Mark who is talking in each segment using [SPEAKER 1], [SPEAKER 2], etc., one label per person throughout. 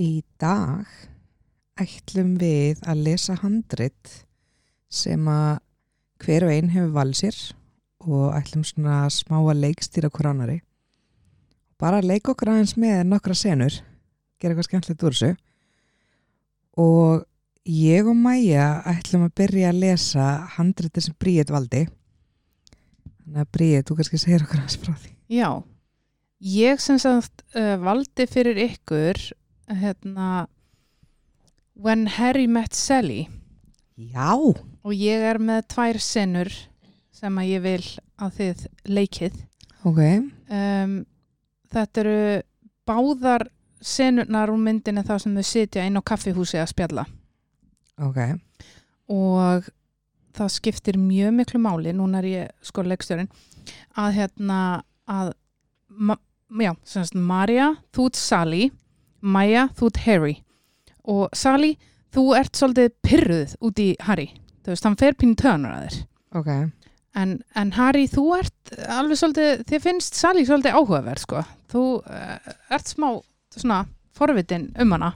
[SPEAKER 1] Í dag ætlum við að lesa handrit sem að hver og einn hefur valið sér og ætlum svona smá að leikstýra hver annari. Bara að leika okkur aðeins með nokkra senur, gera eitthvað skemmtilegt úr þessu. Og ég og Maja ætlum að byrja að lesa handriti sem Bríet valdi. Þannig að Bríet, þú kannski segir okkur aðeins frá því.
[SPEAKER 2] Já, ég sem sagt uh, valdi fyrir ykkur hérna When Harry Met Sally
[SPEAKER 1] Já,
[SPEAKER 2] og ég er með tvær sinnur sem að ég vil að þið leikið.
[SPEAKER 1] ok.
[SPEAKER 2] Um, þetta eru báðar sinnurnar úr myndinni þar sem þau sitja inn á kaffihúsi að spjalla
[SPEAKER 1] Ok,
[SPEAKER 2] og það skiptir mjög miklu máli, núna er ég sko leikstjörinn, að hérna að, ma, já, semst Marja, þú ert Sally Maja, þú ert Harry og Sally, þú ert svolítið pyrruð út í Harry þú veist, hann fer pínu tönur að þér
[SPEAKER 1] ok.
[SPEAKER 2] en, en Harry, þú ert alveg svolítið, þér finnst Sally svolítið áhugaverð, sko, þú uh, ert smá, svona, forvitin um hana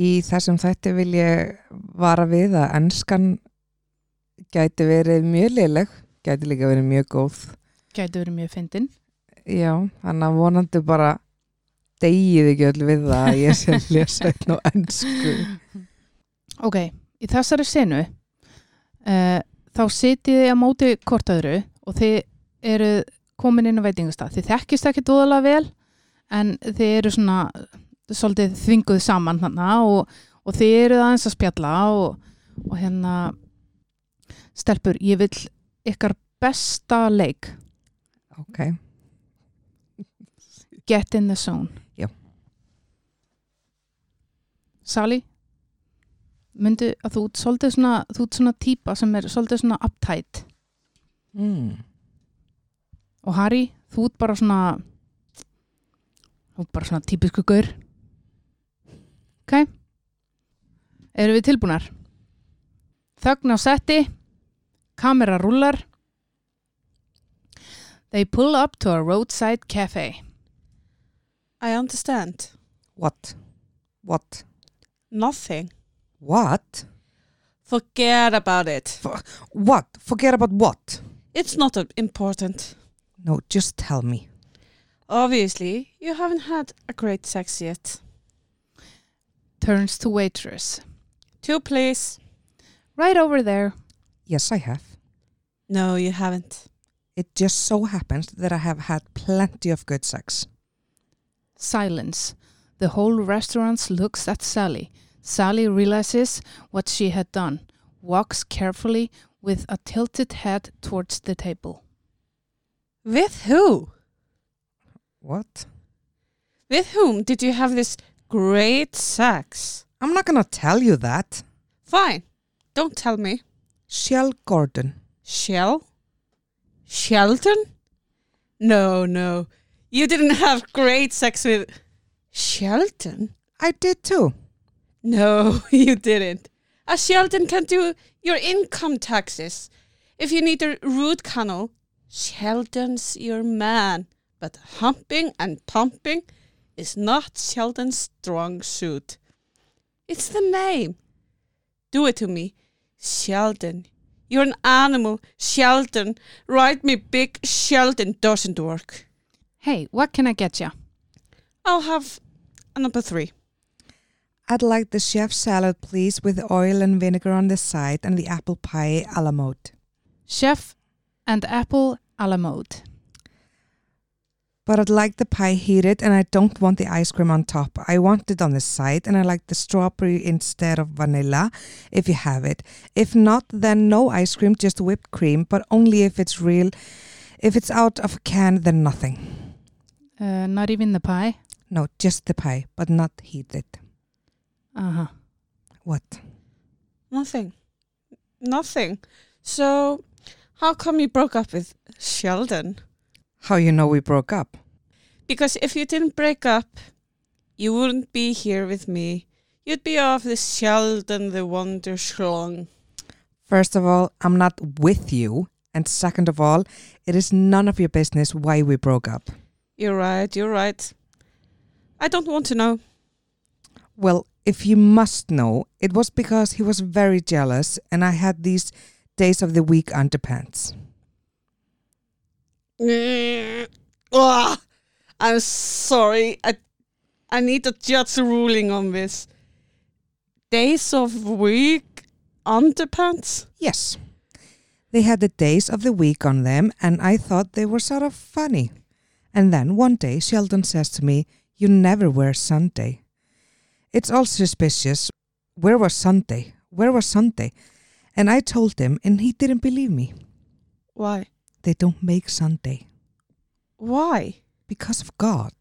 [SPEAKER 1] Í þessum þætti vil ég vara við að enskan gæti verið mjög liðleg, gæti líka verið mjög góð.
[SPEAKER 2] gæti verið mjög fyndin
[SPEAKER 1] Já, þannig að vonandi bara deyið ekki öll við það að ég sé að lesa einn á ensku.
[SPEAKER 2] Ok, í þessari senu uh, þá sitið þið á móti hvort öðru og þið eru komin inn á veitingastað. Þið þekkist ekki dóðalega vel en þið eru svona eh, svolítið þvinguð saman hana og, og þið eru aðeins að spjalla og, og hérna stelpur, ég vil ykkar besta leik
[SPEAKER 1] Ok,
[SPEAKER 2] Get in the Zone.
[SPEAKER 1] Já.
[SPEAKER 2] Sally, myndu að þú ert svolítið svona, þú ert svona típa sem er svolítið svona uptight
[SPEAKER 1] mm.
[SPEAKER 2] og Harry, þú ert bara svona þú ert bara svona típisku gaur. Ok? Erum við tilbúnar? Þögn á setti, kamera rúlar. They pull up to a roadside cafe.
[SPEAKER 3] I understand.
[SPEAKER 1] what? What?
[SPEAKER 3] Nothing.
[SPEAKER 1] What?
[SPEAKER 3] Forget about it.
[SPEAKER 1] What? Forget about what?
[SPEAKER 3] It's not uh, important.
[SPEAKER 1] No, just tell me.
[SPEAKER 3] Obviously, you haven't had a great sex yet.
[SPEAKER 2] Turns to waitress.
[SPEAKER 3] Two, please.
[SPEAKER 2] Right over there.
[SPEAKER 1] Yes, I have.
[SPEAKER 3] No, you haven't.
[SPEAKER 1] It just so happens that I have had plenty of good sex.
[SPEAKER 2] Silence. The whole restaurant looks at Sally. Sally realizes what she had done, walks carefully with a tilted head towards the table.
[SPEAKER 3] With who?
[SPEAKER 1] What?
[SPEAKER 3] With whom did you have this great sex?
[SPEAKER 1] I'm not gonna tell you that.
[SPEAKER 3] Fine. Don't tell me.
[SPEAKER 1] Shell Gordon.
[SPEAKER 3] Shell? Sheldon? No, no. You didn't have great sex with Sheldon?
[SPEAKER 1] I did too.
[SPEAKER 3] No, you didn't. A Sheldon can do your income taxes. If you need a root canal, Sheldon's your man. But humping and pumping is not Sheldon's strong suit. It's the name. Do it to me, Sheldon. You're an animal, Sheldon. Write me big Sheldon doesn't work.
[SPEAKER 2] Hey, what can I get ya?
[SPEAKER 3] I'll have a number three.
[SPEAKER 1] I'd like the chef salad, please, with oil and vinegar on the side and the apple pie a la mode.
[SPEAKER 2] Chef and apple a la mode.
[SPEAKER 1] But I'd like the pie heated and I don't want the ice cream on top. I want it on the side and I like the strawberry instead of vanilla if you have it. If not, then no ice cream, just whipped cream, but only if it's real. If it's out of a can, then nothing.
[SPEAKER 2] Uh, not even the pie.
[SPEAKER 1] No, just the pie, but not heated.
[SPEAKER 2] Uh huh.
[SPEAKER 1] What?
[SPEAKER 3] Nothing. Nothing. So, how come you broke up with Sheldon?
[SPEAKER 1] How you know we broke up?
[SPEAKER 3] Because if you didn't break up, you wouldn't be here with me. You'd be off the Sheldon the Wonder Schlong.
[SPEAKER 1] First of all, I'm not with you. And second of all, it is none of your business why we broke up.
[SPEAKER 3] You're right, you're right. I don't want to know.
[SPEAKER 1] Well, if you must know, it was because he was very jealous and I had these days of the week underpants.
[SPEAKER 3] Ugh, Mm. Ah, I'm sorry. I I need a judge ruling on this. Days of week underpants?
[SPEAKER 1] Yes. They had the days of the week on them and I thought they were sort of funny. And then one day Sheldon says to me, You never wear Sunday. It's all suspicious. Where was Sunday? Where was Sunday? And I told him and he didn't believe me.
[SPEAKER 3] Why?
[SPEAKER 1] They don't make Sunday
[SPEAKER 3] Why?
[SPEAKER 1] because of God.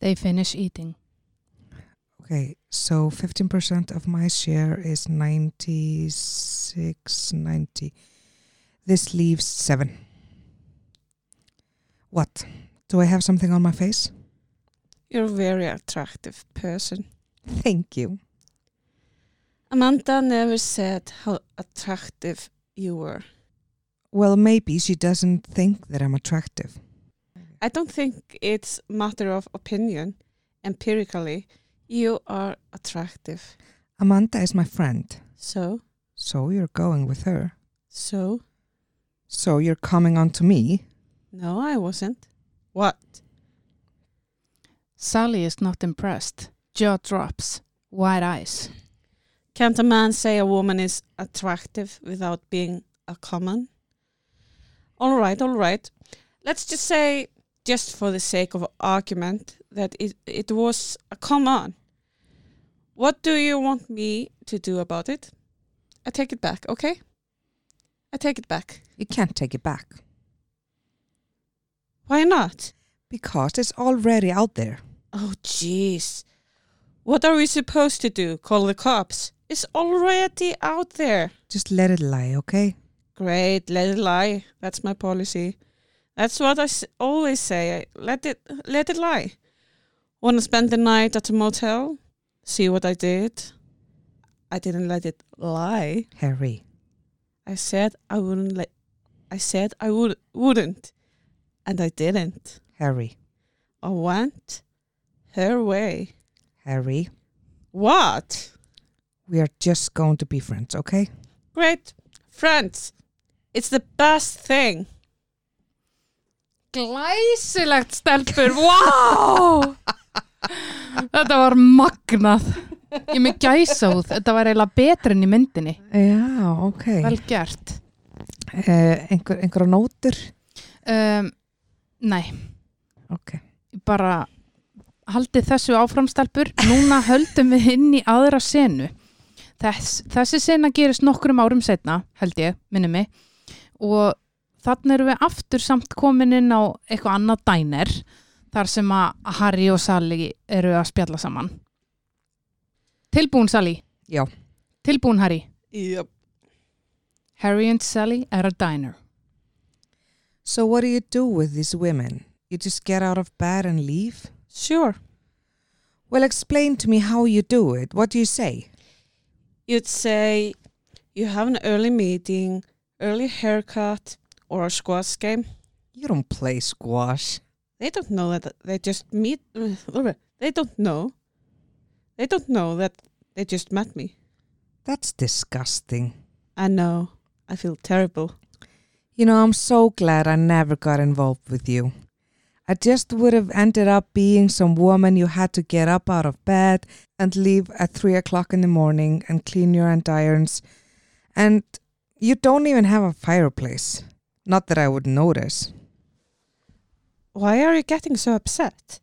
[SPEAKER 2] They finish eating.
[SPEAKER 1] Okay, so 15% of my share is 96.90. This leaves 7. What? Do I have something on my face?
[SPEAKER 3] You're a very attractive person.
[SPEAKER 1] Thank you.
[SPEAKER 3] Amanda never said how attractive you were.
[SPEAKER 1] Well, maybe she doesn't think that I'm attractive.
[SPEAKER 3] I don't think it's matter of opinion. Empirically, you are attractive.
[SPEAKER 1] Amanda is my friend.
[SPEAKER 3] So,
[SPEAKER 1] So you're going with her.
[SPEAKER 3] so,
[SPEAKER 1] So you're coming on to me.
[SPEAKER 3] no, I wasn't. What?
[SPEAKER 2] Sally is not impressed. Jaw drops. Wide eyes.
[SPEAKER 3] Can't a man say a woman is attractive without being a common? All right, all right. Let's just say, just for the sake of argument, that it, it was a common. What do you want me to do about it? I take it back, okay? I take it back.
[SPEAKER 1] You can't take it back
[SPEAKER 3] Why not?
[SPEAKER 1] because it's already out there.
[SPEAKER 3] Oh, jeez. What are we supposed to do? Call the cops? It's already out there.
[SPEAKER 1] Just let it lie, okay?
[SPEAKER 3] Great, let it lie. That's my policy. That's what I s- always say. Let it let it lie. Want to spend the night at a motel? See what I did? I didn't let it lie.
[SPEAKER 1] Harry.
[SPEAKER 3] I said I wouldn't let. I said I would wouldn't, and I didn't.
[SPEAKER 1] Harry.
[SPEAKER 3] I went her way.
[SPEAKER 1] Harry.
[SPEAKER 3] What?
[SPEAKER 1] We are just going to be friends, okay?
[SPEAKER 3] Great friends. It's the best thing.
[SPEAKER 2] Glæsilegt stelpur, wow! Þetta var magnað. Ég er með gæsáð, þetta var eiginlega betra enn í myndinni.
[SPEAKER 1] Já, ok.
[SPEAKER 2] Vel gert.
[SPEAKER 1] Uh, einhver, einhverja nótur?
[SPEAKER 2] Um, nei,
[SPEAKER 1] Ok.
[SPEAKER 2] bara haldið þessu áfram stelpur. Núna höldum við inn í aðra senu. Þess, þessi sena gerist nokkrum árum setna, held ég, minni mig. Og þannig erum við aftur samt komin inn á eitthvað annað dæner þar sem að Harry og Sally eru að spjalla saman. Tilbúin Sally?
[SPEAKER 1] Já.
[SPEAKER 2] Tilbúin Harry?
[SPEAKER 3] Yep.
[SPEAKER 2] Harry and Sally at a diner.
[SPEAKER 1] So what do you do with these women? You just get out of bed and leave?
[SPEAKER 3] Sure.
[SPEAKER 1] Well, explain to me how you do it. What do you say?
[SPEAKER 3] you'd say you have an early meeting, early haircut, or a squash game.
[SPEAKER 1] You don't play squash.
[SPEAKER 3] They don't know that they just meet. They don't know. They don't know that they just met me.
[SPEAKER 1] That's disgusting.
[SPEAKER 3] I know. I feel terrible.
[SPEAKER 1] You know, I'm so glad I never got involved with you. I just would have ended up being some woman you had to get up out of bed and leave at three o'clock in the morning and clean your andirons. And you don't even have a fireplace. Not that I would notice.
[SPEAKER 3] Why are you getting so upset?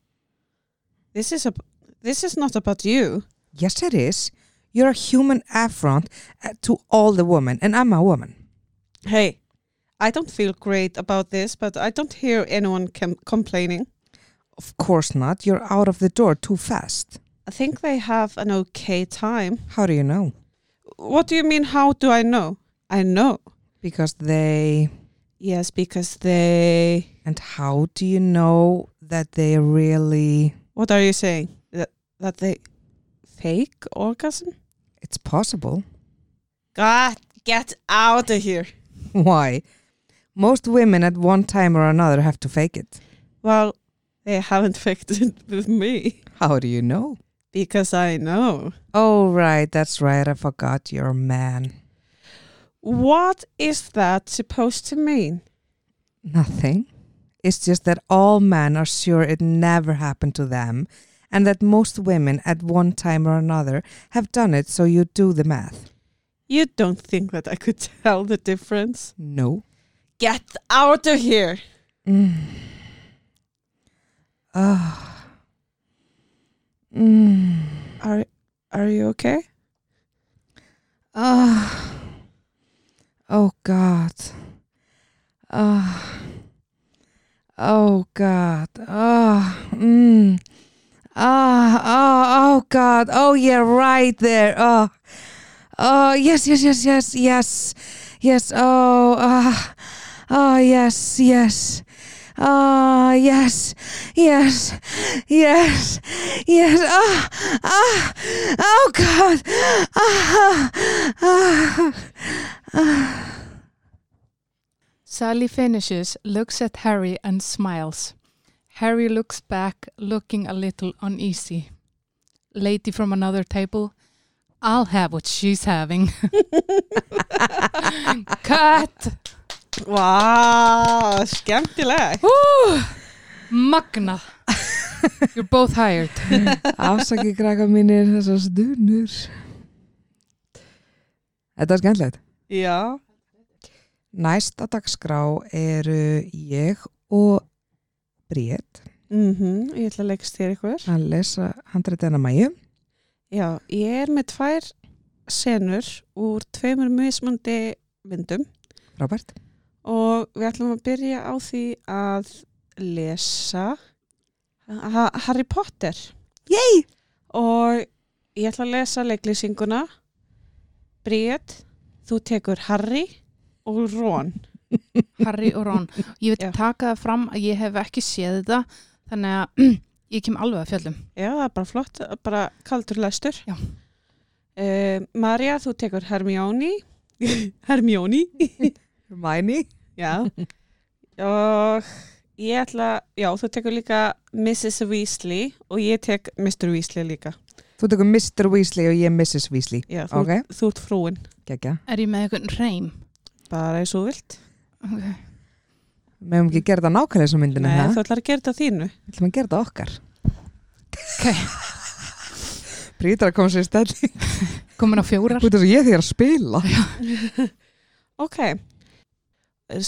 [SPEAKER 3] This is a. This is not about you.
[SPEAKER 1] Yes, it is. You're a human affront uh, to all the women, and I'm a woman.
[SPEAKER 3] Hey, I don't feel great about this, but I don't hear anyone com- complaining.
[SPEAKER 1] Of course not. You're out of the door too fast.
[SPEAKER 3] I think they have an okay time.
[SPEAKER 1] How do you know?
[SPEAKER 3] What do you mean? How do I know? I know.
[SPEAKER 1] Because they.
[SPEAKER 3] Yes, because they.
[SPEAKER 1] And how do you know that they really
[SPEAKER 3] What are you saying? That that they fake orgasm?
[SPEAKER 1] It's possible.
[SPEAKER 3] God, get out of here.
[SPEAKER 1] Why? Most women at one time or another have to fake it.
[SPEAKER 3] Well, they haven't faked it with me
[SPEAKER 1] How do you know?
[SPEAKER 3] because I know.
[SPEAKER 1] Oh, right. That's right. I forgot you're a man.
[SPEAKER 3] What is that supposed to mean?
[SPEAKER 1] Nothing. It's just that all men are sure it never happened to them and that most women at one time or another have done it, so you do the math.
[SPEAKER 3] You don't think that I could tell the difference?
[SPEAKER 1] No.
[SPEAKER 3] Get out of here.
[SPEAKER 1] Mm. Ah. Mm.
[SPEAKER 3] Are are you okay?
[SPEAKER 1] Ah. Oh God. Ah. Oh God. Ah. Mm. Ah. Ah. Oh God. Oh yeah. Right there. Oh. Oh yes. Yes. Yes. Yes. Yes. Yes. Oh. Ah. Ah. Yes. Yes. Ah. Yes. Yes. Yes. Yes. Ah. Ah. Oh God. Ah. Ah. Ah.
[SPEAKER 2] Sally finishes, looks at Harry, and smiles. Harry looks back, looking a little uneasy. Lady from another table, I'll have what she's having. Cut!
[SPEAKER 3] Wow, skemmtileg.
[SPEAKER 2] Woo! Magna! You're both hired.
[SPEAKER 1] Afsakið krakka mínir þessar stunur. Þetta er skemmtilegt.
[SPEAKER 3] Já.
[SPEAKER 1] Næsta dagskrá eru ég og Bríett
[SPEAKER 3] Mm Ég ætla að leggst þér ykkur.
[SPEAKER 1] að lesa handritin að mæju.
[SPEAKER 3] Já, ég er með tvær senur úr tveimur mismundi myndum
[SPEAKER 1] Robert,
[SPEAKER 3] og við ætlum að byrja á því að lesa Ha- Harry Potter. Yay! Og ég ætla að lesa leiklýsinguna Bríett, þú tekur Harry og Ron.
[SPEAKER 2] Harry og Ron. Ég vil
[SPEAKER 3] Já.
[SPEAKER 2] taka það fram að ég hef ekki séð þetta, þannig að ég kem alveg að fjöllum.
[SPEAKER 3] Já, það er bara flott, bara kaldur lestur.
[SPEAKER 2] Já.
[SPEAKER 3] Eh, María, þú tekur Hermione. Hermione.
[SPEAKER 1] Hermione,
[SPEAKER 3] Já. og ég ætla, já, þú tekur líka Mrs. Weasley og ég tek Mr. Weasley líka.
[SPEAKER 1] þú tekur Mr. Weasley og ég Mrs. Weasley.
[SPEAKER 3] Já, þú,
[SPEAKER 1] Ok,
[SPEAKER 3] þú ert frúin.
[SPEAKER 1] geggja.
[SPEAKER 2] Er ég með einhvern reym?
[SPEAKER 3] Bara eins og þú vilt.
[SPEAKER 2] Okay.
[SPEAKER 1] Meðum ekki gera þetta nákvæmlega svo myndinu
[SPEAKER 3] Nei,
[SPEAKER 1] það.
[SPEAKER 3] þú ætlar að gera þetta að þínu.
[SPEAKER 1] Þú ætlum að gera þetta okkar.
[SPEAKER 2] Ok.
[SPEAKER 1] Bríett er að koma sér í stæli.
[SPEAKER 2] Komin á fjórar?
[SPEAKER 1] Þú veist, ég þér að spila.
[SPEAKER 3] Ok.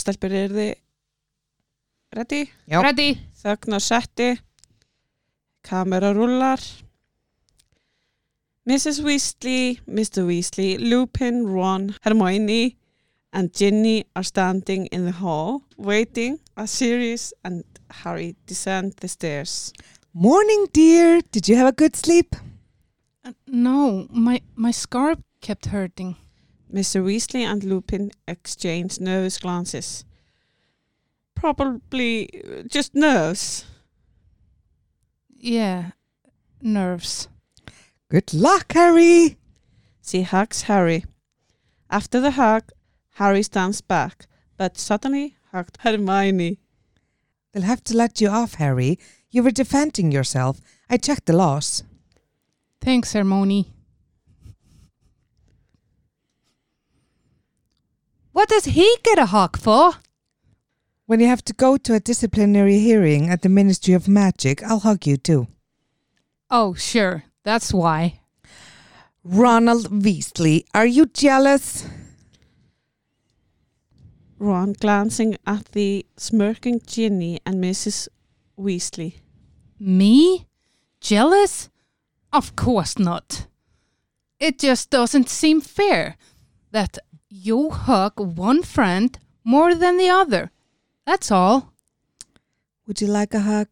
[SPEAKER 3] Stelpur, eru þið ready?
[SPEAKER 1] Já.
[SPEAKER 2] Ready?
[SPEAKER 3] Þögn á setti. Kamera rullar. Mrs. Weasley, Mr. Weasley, Lupin, Ron, Hermione and Ginny are standing in the hall waiting as Sirius and Harry descend the stairs.
[SPEAKER 1] Morning dear, did you have a good sleep?
[SPEAKER 2] Uh, No, my, my scarf kept hurting.
[SPEAKER 3] Mr. Weasley and Lupin exchange nervous glances. Probably uh, just nerves.
[SPEAKER 2] Yeah, nerves.
[SPEAKER 1] Good luck Harry!
[SPEAKER 3] She hugs Harry. After the hug, Harry stands back, but suddenly hugged Hermione.
[SPEAKER 1] They'll have to let you off, Harry. You were defending yourself. I checked the laws.
[SPEAKER 2] Thanks, Hermione. What does he get a hawk for?
[SPEAKER 1] When you have to go to a disciplinary hearing at the Ministry of Magic, I'll hug you too.
[SPEAKER 2] Oh, sure, that's why.
[SPEAKER 1] Ronald Weasley, are you jealous?
[SPEAKER 3] Ron glancing at the smirking Ginny and Mrs. Weasley.
[SPEAKER 2] Me? Jealous? Of course not. It just doesn't seem fair that you hug one friend more than the other. That's all.
[SPEAKER 1] Would you like a hug?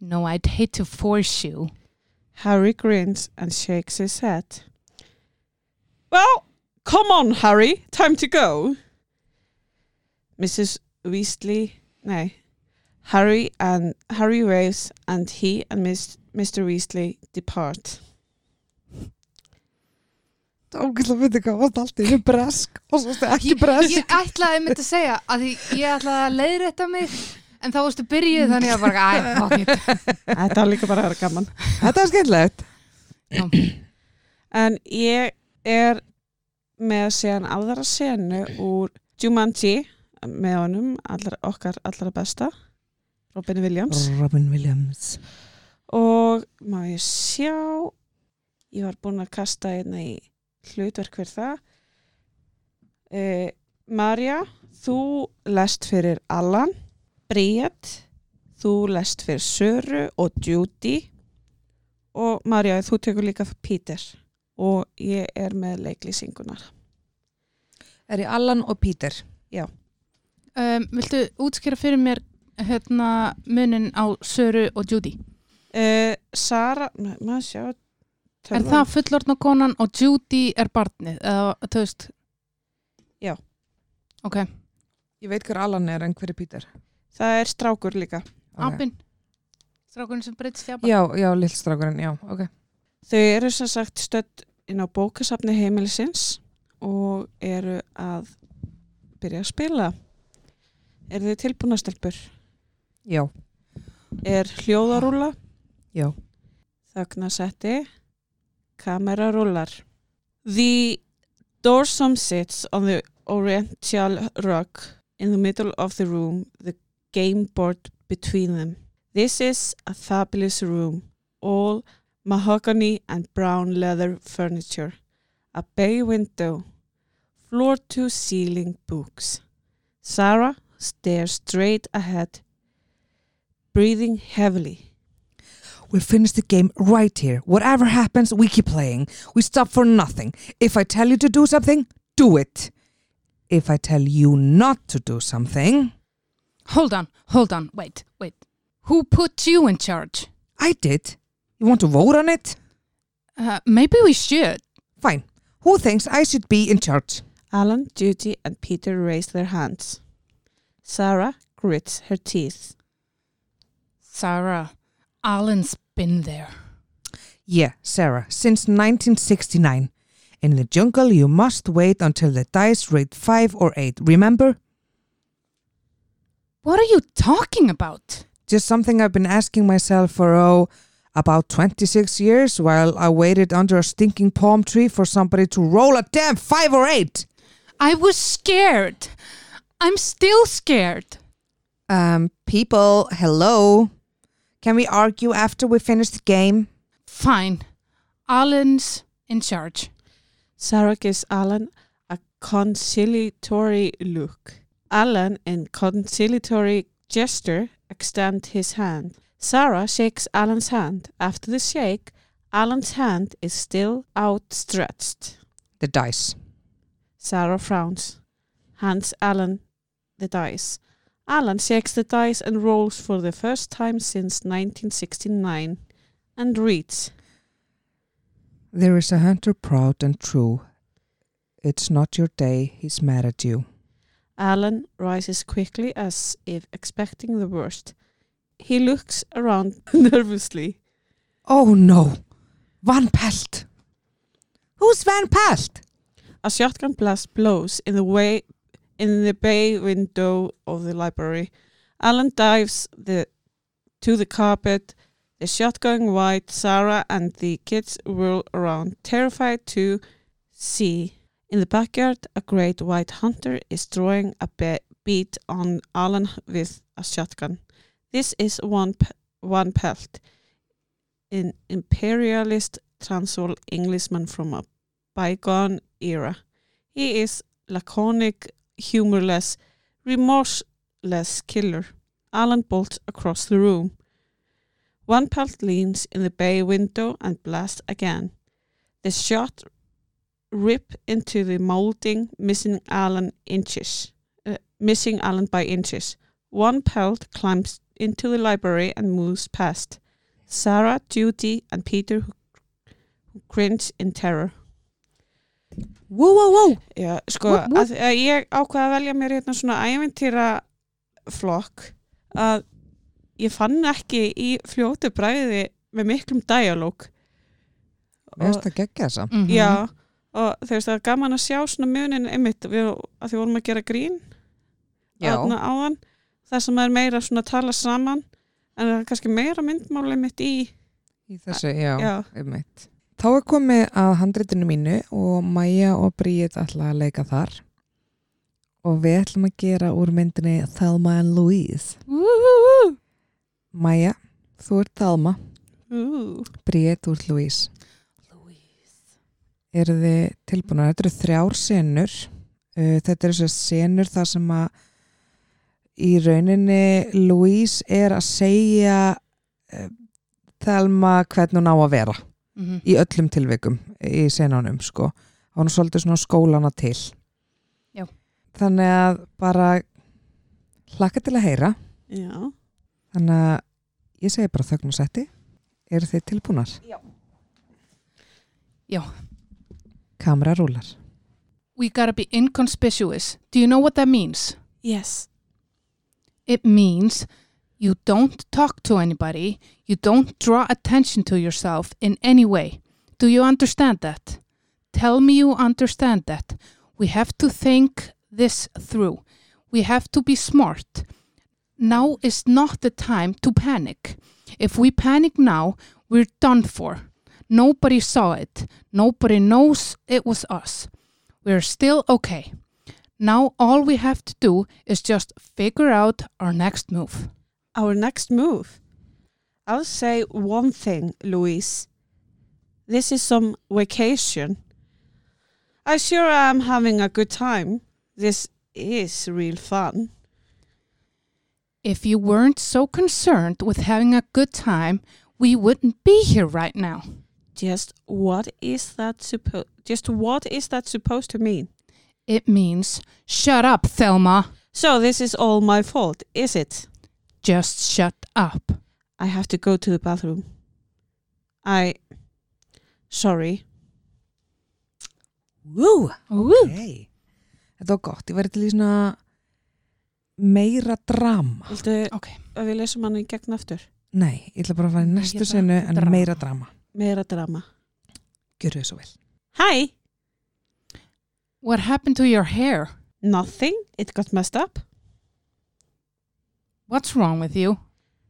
[SPEAKER 2] No, I'd hate to force you.
[SPEAKER 3] Harry grins and shakes his head. Well, come on, Harry. Time to go. Mrs. Weasley, no. Harry and Harry waves, and he and Miss Mr. Weasley depart.
[SPEAKER 1] Það er ógæðlega að finna hvað varst allt í einu bresk er og er svo stu ekki bresk.
[SPEAKER 4] Ég ætlaði einmitt að segja að því ég ætlaði að leiðrétta mig en þá varstu byrjuð þannig að bara, æ, fuck it.
[SPEAKER 3] Þetta var líka bara að vera gaman.
[SPEAKER 1] Þetta er skemmtilegt.
[SPEAKER 3] En ég er með að segja hann aðra senu úr Jumanji með honum, allra, okkar allra besta, Robin Williams.
[SPEAKER 1] Robin Williams.
[SPEAKER 3] Og má ég sjá, ég var búin að kasta hérna í hlutverk fyrir það. Eh, Marja, þú lest fyrir Allan. Bríett, þú lest fyrir Söru og Judy. Og Marja, þú tekur líka fyrir Peter. Og ég er með leiklýsingunar.
[SPEAKER 1] Er ég Allan og Peter.
[SPEAKER 2] Um, viltu útskýra fyrir mér hérna munin á Söru og Judy?
[SPEAKER 3] Eh, Sara, ma- maður sjá.
[SPEAKER 2] Er
[SPEAKER 3] tölvan.
[SPEAKER 2] það fullorðna konan og Judy er barnið? Eða, þú veist?
[SPEAKER 3] Já.
[SPEAKER 2] Ok,
[SPEAKER 1] Ég veit hver Allan er en hver er Peter.
[SPEAKER 3] Það er strákur líka.
[SPEAKER 1] Ok.
[SPEAKER 2] apinn. Strákurinn sem breytist í apinn.
[SPEAKER 1] Já, já, lillstrákurinn, já, ok.
[SPEAKER 3] Þau eru sem sagt stödd inn á bókasafni heimilisins og eru að byrja að spila. Er þið tilbúna stelpur?
[SPEAKER 1] Já,
[SPEAKER 3] Er hljóðarúla?
[SPEAKER 1] já.
[SPEAKER 3] Þagnasetti? Kamerarúlar? The dorsum sits on the oriental rug in the middle of the room, the game board between them. This is a fabulous room, all mahogany and brown leather furniture, a bay window, floor to ceiling books. Sarah stares straight ahead, breathing heavily.
[SPEAKER 1] We'll finish the game right here. Whatever happens, we keep playing. We stop for nothing. If I tell you to do something, do it. If I tell you not to do something,
[SPEAKER 2] Hold on, hold on, wait, wait. Who put you in charge?
[SPEAKER 1] I did. You want to vote on it?
[SPEAKER 2] Uh, maybe we should.
[SPEAKER 1] Fine. Who thinks I should be in charge?
[SPEAKER 3] Alan, Judy, and Peter raise their hands. Sarah grits her teeth.
[SPEAKER 2] Sarah, Alan's been there.
[SPEAKER 1] Yeah, Sarah, since 1969. In the jungle, you must wait until the dice rate 5 or 8. Remember?
[SPEAKER 2] What are you talking about?
[SPEAKER 1] Just something I've been asking myself for, oh, about 26 years while I waited under a stinking palm tree for somebody to roll a damn 5 or 8.
[SPEAKER 2] I was scared. I'm still scared.
[SPEAKER 1] Um, people, hello. Can we argue after we finish the game?
[SPEAKER 2] Fine. Alan's in charge.
[SPEAKER 3] Sarah gives Alan a conciliatory look. Alan, in conciliatory gesture, extends his hand. Sarah shakes Alan's hand. After the shake, Alan's hand is still outstretched.
[SPEAKER 1] The dice.
[SPEAKER 3] Sarah frowns, hands Alan the dice. Alan shakes the dice and rolls for the first time since 1969 and reads.
[SPEAKER 1] There is a hunter proud and true. It's not your day, he's mad at you.
[SPEAKER 3] Alan rises quickly as if expecting the worst. He looks around nervously.
[SPEAKER 1] Oh no, Van Pelt. Who's Van Pelt?
[SPEAKER 3] A shotgun blast blows in the way in the bay window of the library. Alan dives the to the carpet. The shotgun white Sarah and the kids whirl around, terrified to see. In the backyard, a great white hunter is drawing a be- bead on Alan with a shotgun. This is one p- one pelt, an imperialist transvaal Englishman from a bygone era. He is laconic, humorless, remorseless killer. Alan bolts across the room. One pelt leans in the bay window and blasts again. The shot rip into the molding, missing Alan inches, uh, missing Alan by inches. One pelt climbs into the library and moves past Sarah, Judy, and Peter, who, who cringe in terror.
[SPEAKER 1] Whoa, whoa, whoa.
[SPEAKER 3] Já, sko,
[SPEAKER 2] What- what?
[SPEAKER 3] að, að ég ákvaða að velja mér hérna svona æventýra flokk að ég fann ekki í fljótu bræði með miklum dialóg
[SPEAKER 1] Mér finnst það geggja þessa.
[SPEAKER 2] Mm -hmm.
[SPEAKER 3] Já, og þú veist það er gaman að sjá svona munin einmitt við, að því vorum að gera grín
[SPEAKER 1] Já.
[SPEAKER 3] þarna áðan það sem er meira svona að tala saman en það er kannski meira myndmáli mitt í
[SPEAKER 1] Í þessu, já, já.
[SPEAKER 3] Já.
[SPEAKER 1] einmitt. Þá er komið að handritinu mínu og Maja og Bríð ætla að leika þar og við ætlum að gera úr myndinni Thelma and Louise. Maja, þú ert Thelma,
[SPEAKER 3] Ú,
[SPEAKER 1] Bríð, þú ert Louise. eru þið tilbúinari þetta eru þrjár senur uh, þetta eru þessar senur þar sem að í rauninni Louise er að segja uh, Thelma hvernig hún á að vera
[SPEAKER 2] Mm-hmm.
[SPEAKER 1] í öllum tilvikum í senunum sko hún er svolítið svona skólana til
[SPEAKER 2] Já.
[SPEAKER 1] þannig að bara hlakka til að heyra
[SPEAKER 3] Já,
[SPEAKER 1] þannig að ég segi bara þögn og setti eru þið tilbúinar?
[SPEAKER 3] Já.
[SPEAKER 2] Já.
[SPEAKER 1] Kamera rúlar
[SPEAKER 2] We gotta be inconspicuous. Do you know what that means?
[SPEAKER 3] yes
[SPEAKER 2] It means you don't talk to anybody, you don't draw attention to yourself in any way. Do you understand that? Tell me you understand that. We have to think this through. We have to be smart. Now is not the time to panic. If we panic now, we're done for. Nobody saw it. Nobody knows it was us. We're still okay. Now all we have to do is just figure out our next move.
[SPEAKER 3] Our next move I'll say one thing, Louise This is some vacation I sure am having a good time This is real fun
[SPEAKER 2] If you weren't so concerned with having a good time, we wouldn't be here right now.
[SPEAKER 3] just what is that supposed just what is that supposed to mean
[SPEAKER 2] It means shut up, Thelma.
[SPEAKER 3] so this is all my fault is it
[SPEAKER 2] Just shut up.
[SPEAKER 3] i have to go to the bathroom i sorry
[SPEAKER 1] Woo!
[SPEAKER 2] Ooh.
[SPEAKER 1] Hey. Þetta var gott, ég væri til í svona meira drama.
[SPEAKER 3] viltu
[SPEAKER 2] Okay.
[SPEAKER 3] að við lesum hann í gegn aftur
[SPEAKER 1] Nei, ég ætla bara að fara í næstu
[SPEAKER 2] Meira
[SPEAKER 1] senu en
[SPEAKER 2] drama.
[SPEAKER 1] meira drama.
[SPEAKER 3] meira drama
[SPEAKER 1] Gjörðu þið svo vel.
[SPEAKER 3] hi
[SPEAKER 2] What happened to your hair?
[SPEAKER 3] nothing it got messed up
[SPEAKER 2] What's wrong with you?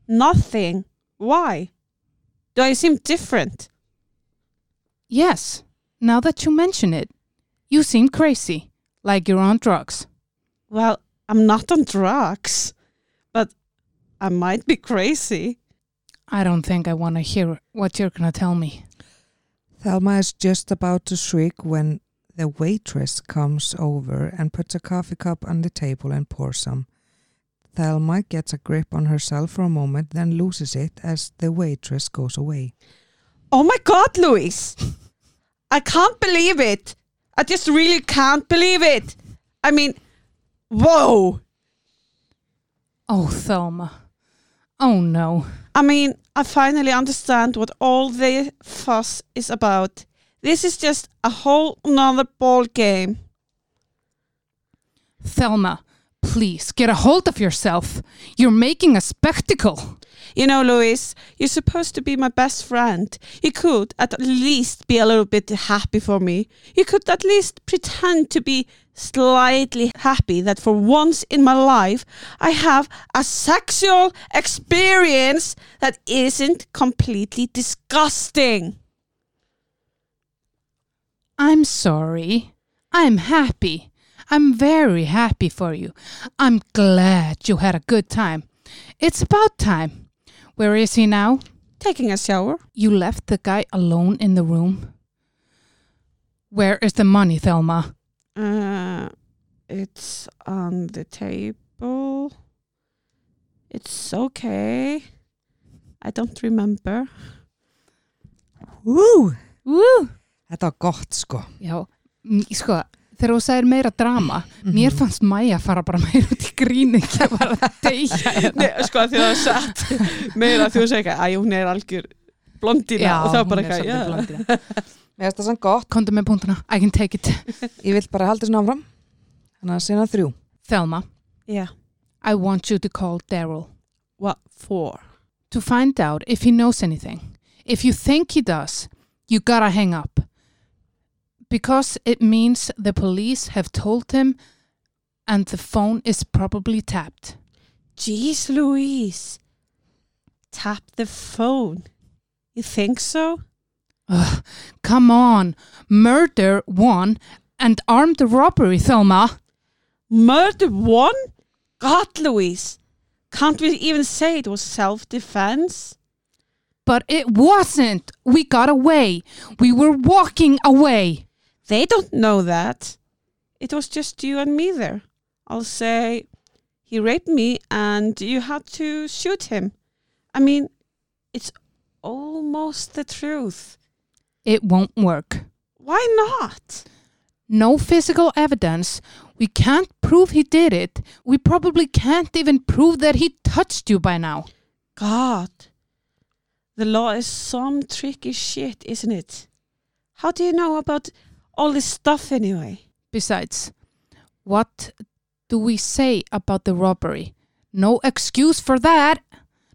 [SPEAKER 3] nothing why do i seem different
[SPEAKER 2] Yes, now that you mention it, you seem crazy, like you're on drugs.
[SPEAKER 3] well i'm not on drugs but i might be crazy
[SPEAKER 2] I don't think I want to hear what you're going to tell me.
[SPEAKER 1] Thelma is just about to shriek when the waitress comes over and puts a coffee cup on the table and pours some. Thelma gets a grip on herself for a moment, then loses it as the waitress goes away.
[SPEAKER 3] Oh my god, Louise! I can't believe it! I just really can't believe it! I mean, whoa!
[SPEAKER 2] Oh, Thelma. Oh, no.
[SPEAKER 3] I mean, I finally understand what all the fuss is about. This is just a whole nother ball game.
[SPEAKER 2] Thelma, please get a hold of yourself. You're making a spectacle.
[SPEAKER 3] You know, Louise, you're supposed to be my best friend. You could at least be a little bit happy for me. You could at least pretend to be slightly happy that for once in my life I have a sexual experience that isn't completely disgusting.
[SPEAKER 2] I'm sorry. I'm happy. I'm very happy for you. I'm glad you had a good time. It's about time. Where is he now?
[SPEAKER 3] Taking a shower.
[SPEAKER 2] You left the guy alone in the room. Where is the money, Thelma?
[SPEAKER 3] Uh, it's on the table. It's okay. I don't remember.
[SPEAKER 1] Woo!
[SPEAKER 2] Woo!
[SPEAKER 1] Þetta var gott sko.
[SPEAKER 2] Já, m- sko, þegar þú sagðir meira drama,
[SPEAKER 1] Mhm.
[SPEAKER 2] mér fannst Maja fara bara meira út í grín ekki að bara deyja. hérna.
[SPEAKER 3] Nei, sko, því að það satt meira því að segja eitthvað, æ, hún er algjör blondina og það var bara
[SPEAKER 2] hún er
[SPEAKER 3] eitthvað,
[SPEAKER 2] svolítið
[SPEAKER 3] já.
[SPEAKER 2] blandina.
[SPEAKER 1] Mér finnst það sann gott.
[SPEAKER 2] Komdu með punktuna, I can take it.
[SPEAKER 1] Ég vil bara halda svona áfram. Þannig að sena þrjú.
[SPEAKER 2] Thelma,
[SPEAKER 3] Yeah.
[SPEAKER 2] I want you to call Daryl
[SPEAKER 3] What for?
[SPEAKER 2] to find out if he knows anything. If you think he does, you gotta hang up. Because it means the police have told him and the phone is probably tapped.
[SPEAKER 3] Jeez Louise. Tap the phone. You think so?
[SPEAKER 2] Ugh, come on. Murder one and armed robbery, Thelma.
[SPEAKER 3] Murder one? God, Louise. Can't we even say it was self defense?
[SPEAKER 2] But it wasn't. We got away. We were walking away.
[SPEAKER 3] They don't know that. It was just you and me there. I'll say he raped me and you had to shoot him. I mean, it's almost the truth.
[SPEAKER 2] It won't work.
[SPEAKER 3] Why not?
[SPEAKER 2] No physical evidence. We can't prove he did it. We probably can't even prove that he touched you by now.
[SPEAKER 3] God, the law is some tricky shit, isn't it? How do you know about all this stuff anyway?
[SPEAKER 2] Besides, what do we say about the robbery? No excuse for that.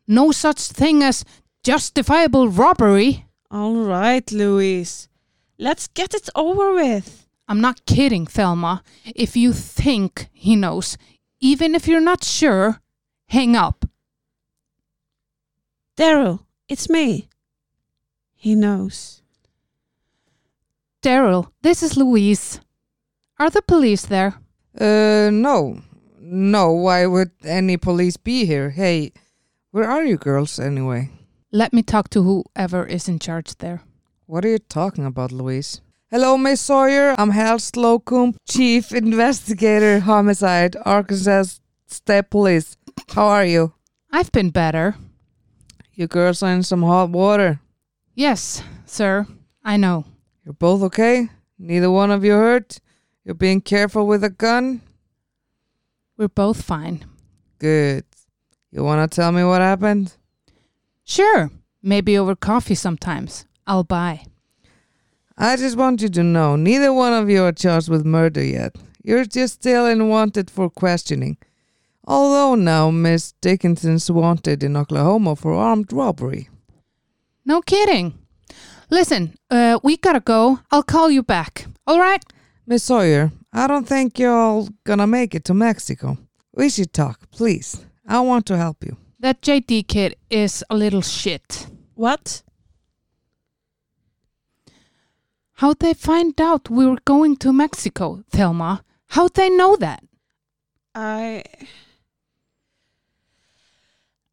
[SPEAKER 2] No such thing as justifiable robbery.
[SPEAKER 3] All right, Louise. Let's get it over with.
[SPEAKER 2] I'm not kidding, Thelma. If you think he knows, even if you're not sure, hang up.
[SPEAKER 3] Daryl, it's me. He knows.
[SPEAKER 2] Daryl, this is Louise. Are the police there?
[SPEAKER 1] Uh, no. No, why would any police be here? Hey, where are you girls anyway?
[SPEAKER 2] Let me talk to whoever is in charge there.
[SPEAKER 1] What are you talking about, Louise? Hello, Miss Sawyer. I'm Hal Slocum, Chief Investigator, Homicide, Arkansas State Police. How are you?
[SPEAKER 2] I've been better.
[SPEAKER 1] You girls are in some hot water.
[SPEAKER 2] Yes, sir. I know.
[SPEAKER 1] You're both okay? Neither one of you hurt? You're being careful with a gun?
[SPEAKER 2] We're both fine.
[SPEAKER 1] Good. You want to tell me what happened?
[SPEAKER 2] Sure. Maybe over coffee sometimes. I'll buy.
[SPEAKER 1] I just want you to know neither one of you are charged with murder yet. You're just still in wanted for questioning. Although now Miss Dickinson's wanted in Oklahoma for armed robbery.
[SPEAKER 2] No kidding. Listen, uh, we gotta go. I'll call you back. All right?
[SPEAKER 1] Miss Sawyer, I don't think you're all gonna make it to Mexico. We should talk, please. I want to help you.
[SPEAKER 2] That JD kid is a little shit.
[SPEAKER 3] What?
[SPEAKER 2] How'd they find out we were going to Mexico, Thelma? How'd they know that?
[SPEAKER 3] I.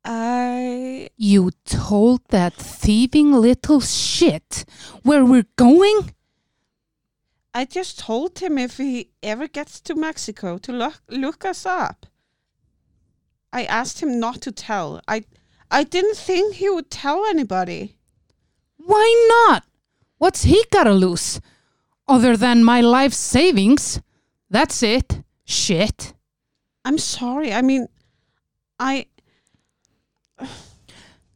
[SPEAKER 3] I.
[SPEAKER 2] You told that thieving little shit where we're going?
[SPEAKER 3] I just told him if he ever gets to Mexico to look look us up. I asked him not to tell. I I didn't think he would tell anybody.
[SPEAKER 2] Why not? What's he gotta lose? Other than my life savings? That's it. Shit.
[SPEAKER 3] I'm sorry. I mean, I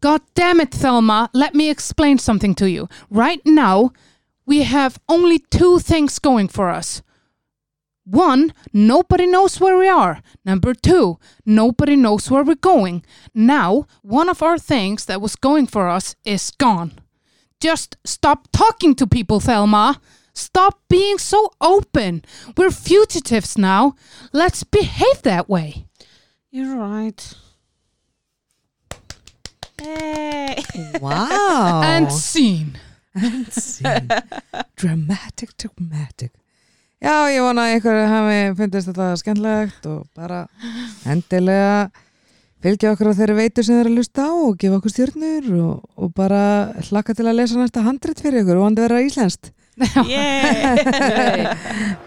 [SPEAKER 2] God damn it, Thelma. Let me explain something to you. Right now, we have only two things going for us. One, nobody knows where we are. Number two, nobody knows where we're going. Now, one of our things that was going for us is gone. Just stop talking to people, Thelma. Stop being so open. We're fugitives now. Let's behave that way.
[SPEAKER 3] you're right. Hey.
[SPEAKER 1] Wow.
[SPEAKER 2] And scene.
[SPEAKER 1] And scene. dramatic, dramatic Já, ég vona að ykkur hafi fundist þetta skemmtilegt og bara endilega fylgja okkur á þeirri veitur sem þeir eru að lusta á og gefa okkur stjörnur og, og bara hlakka til að lesa næsta handrit fyrir ykkur og hann vera íslenskt
[SPEAKER 3] Yeah.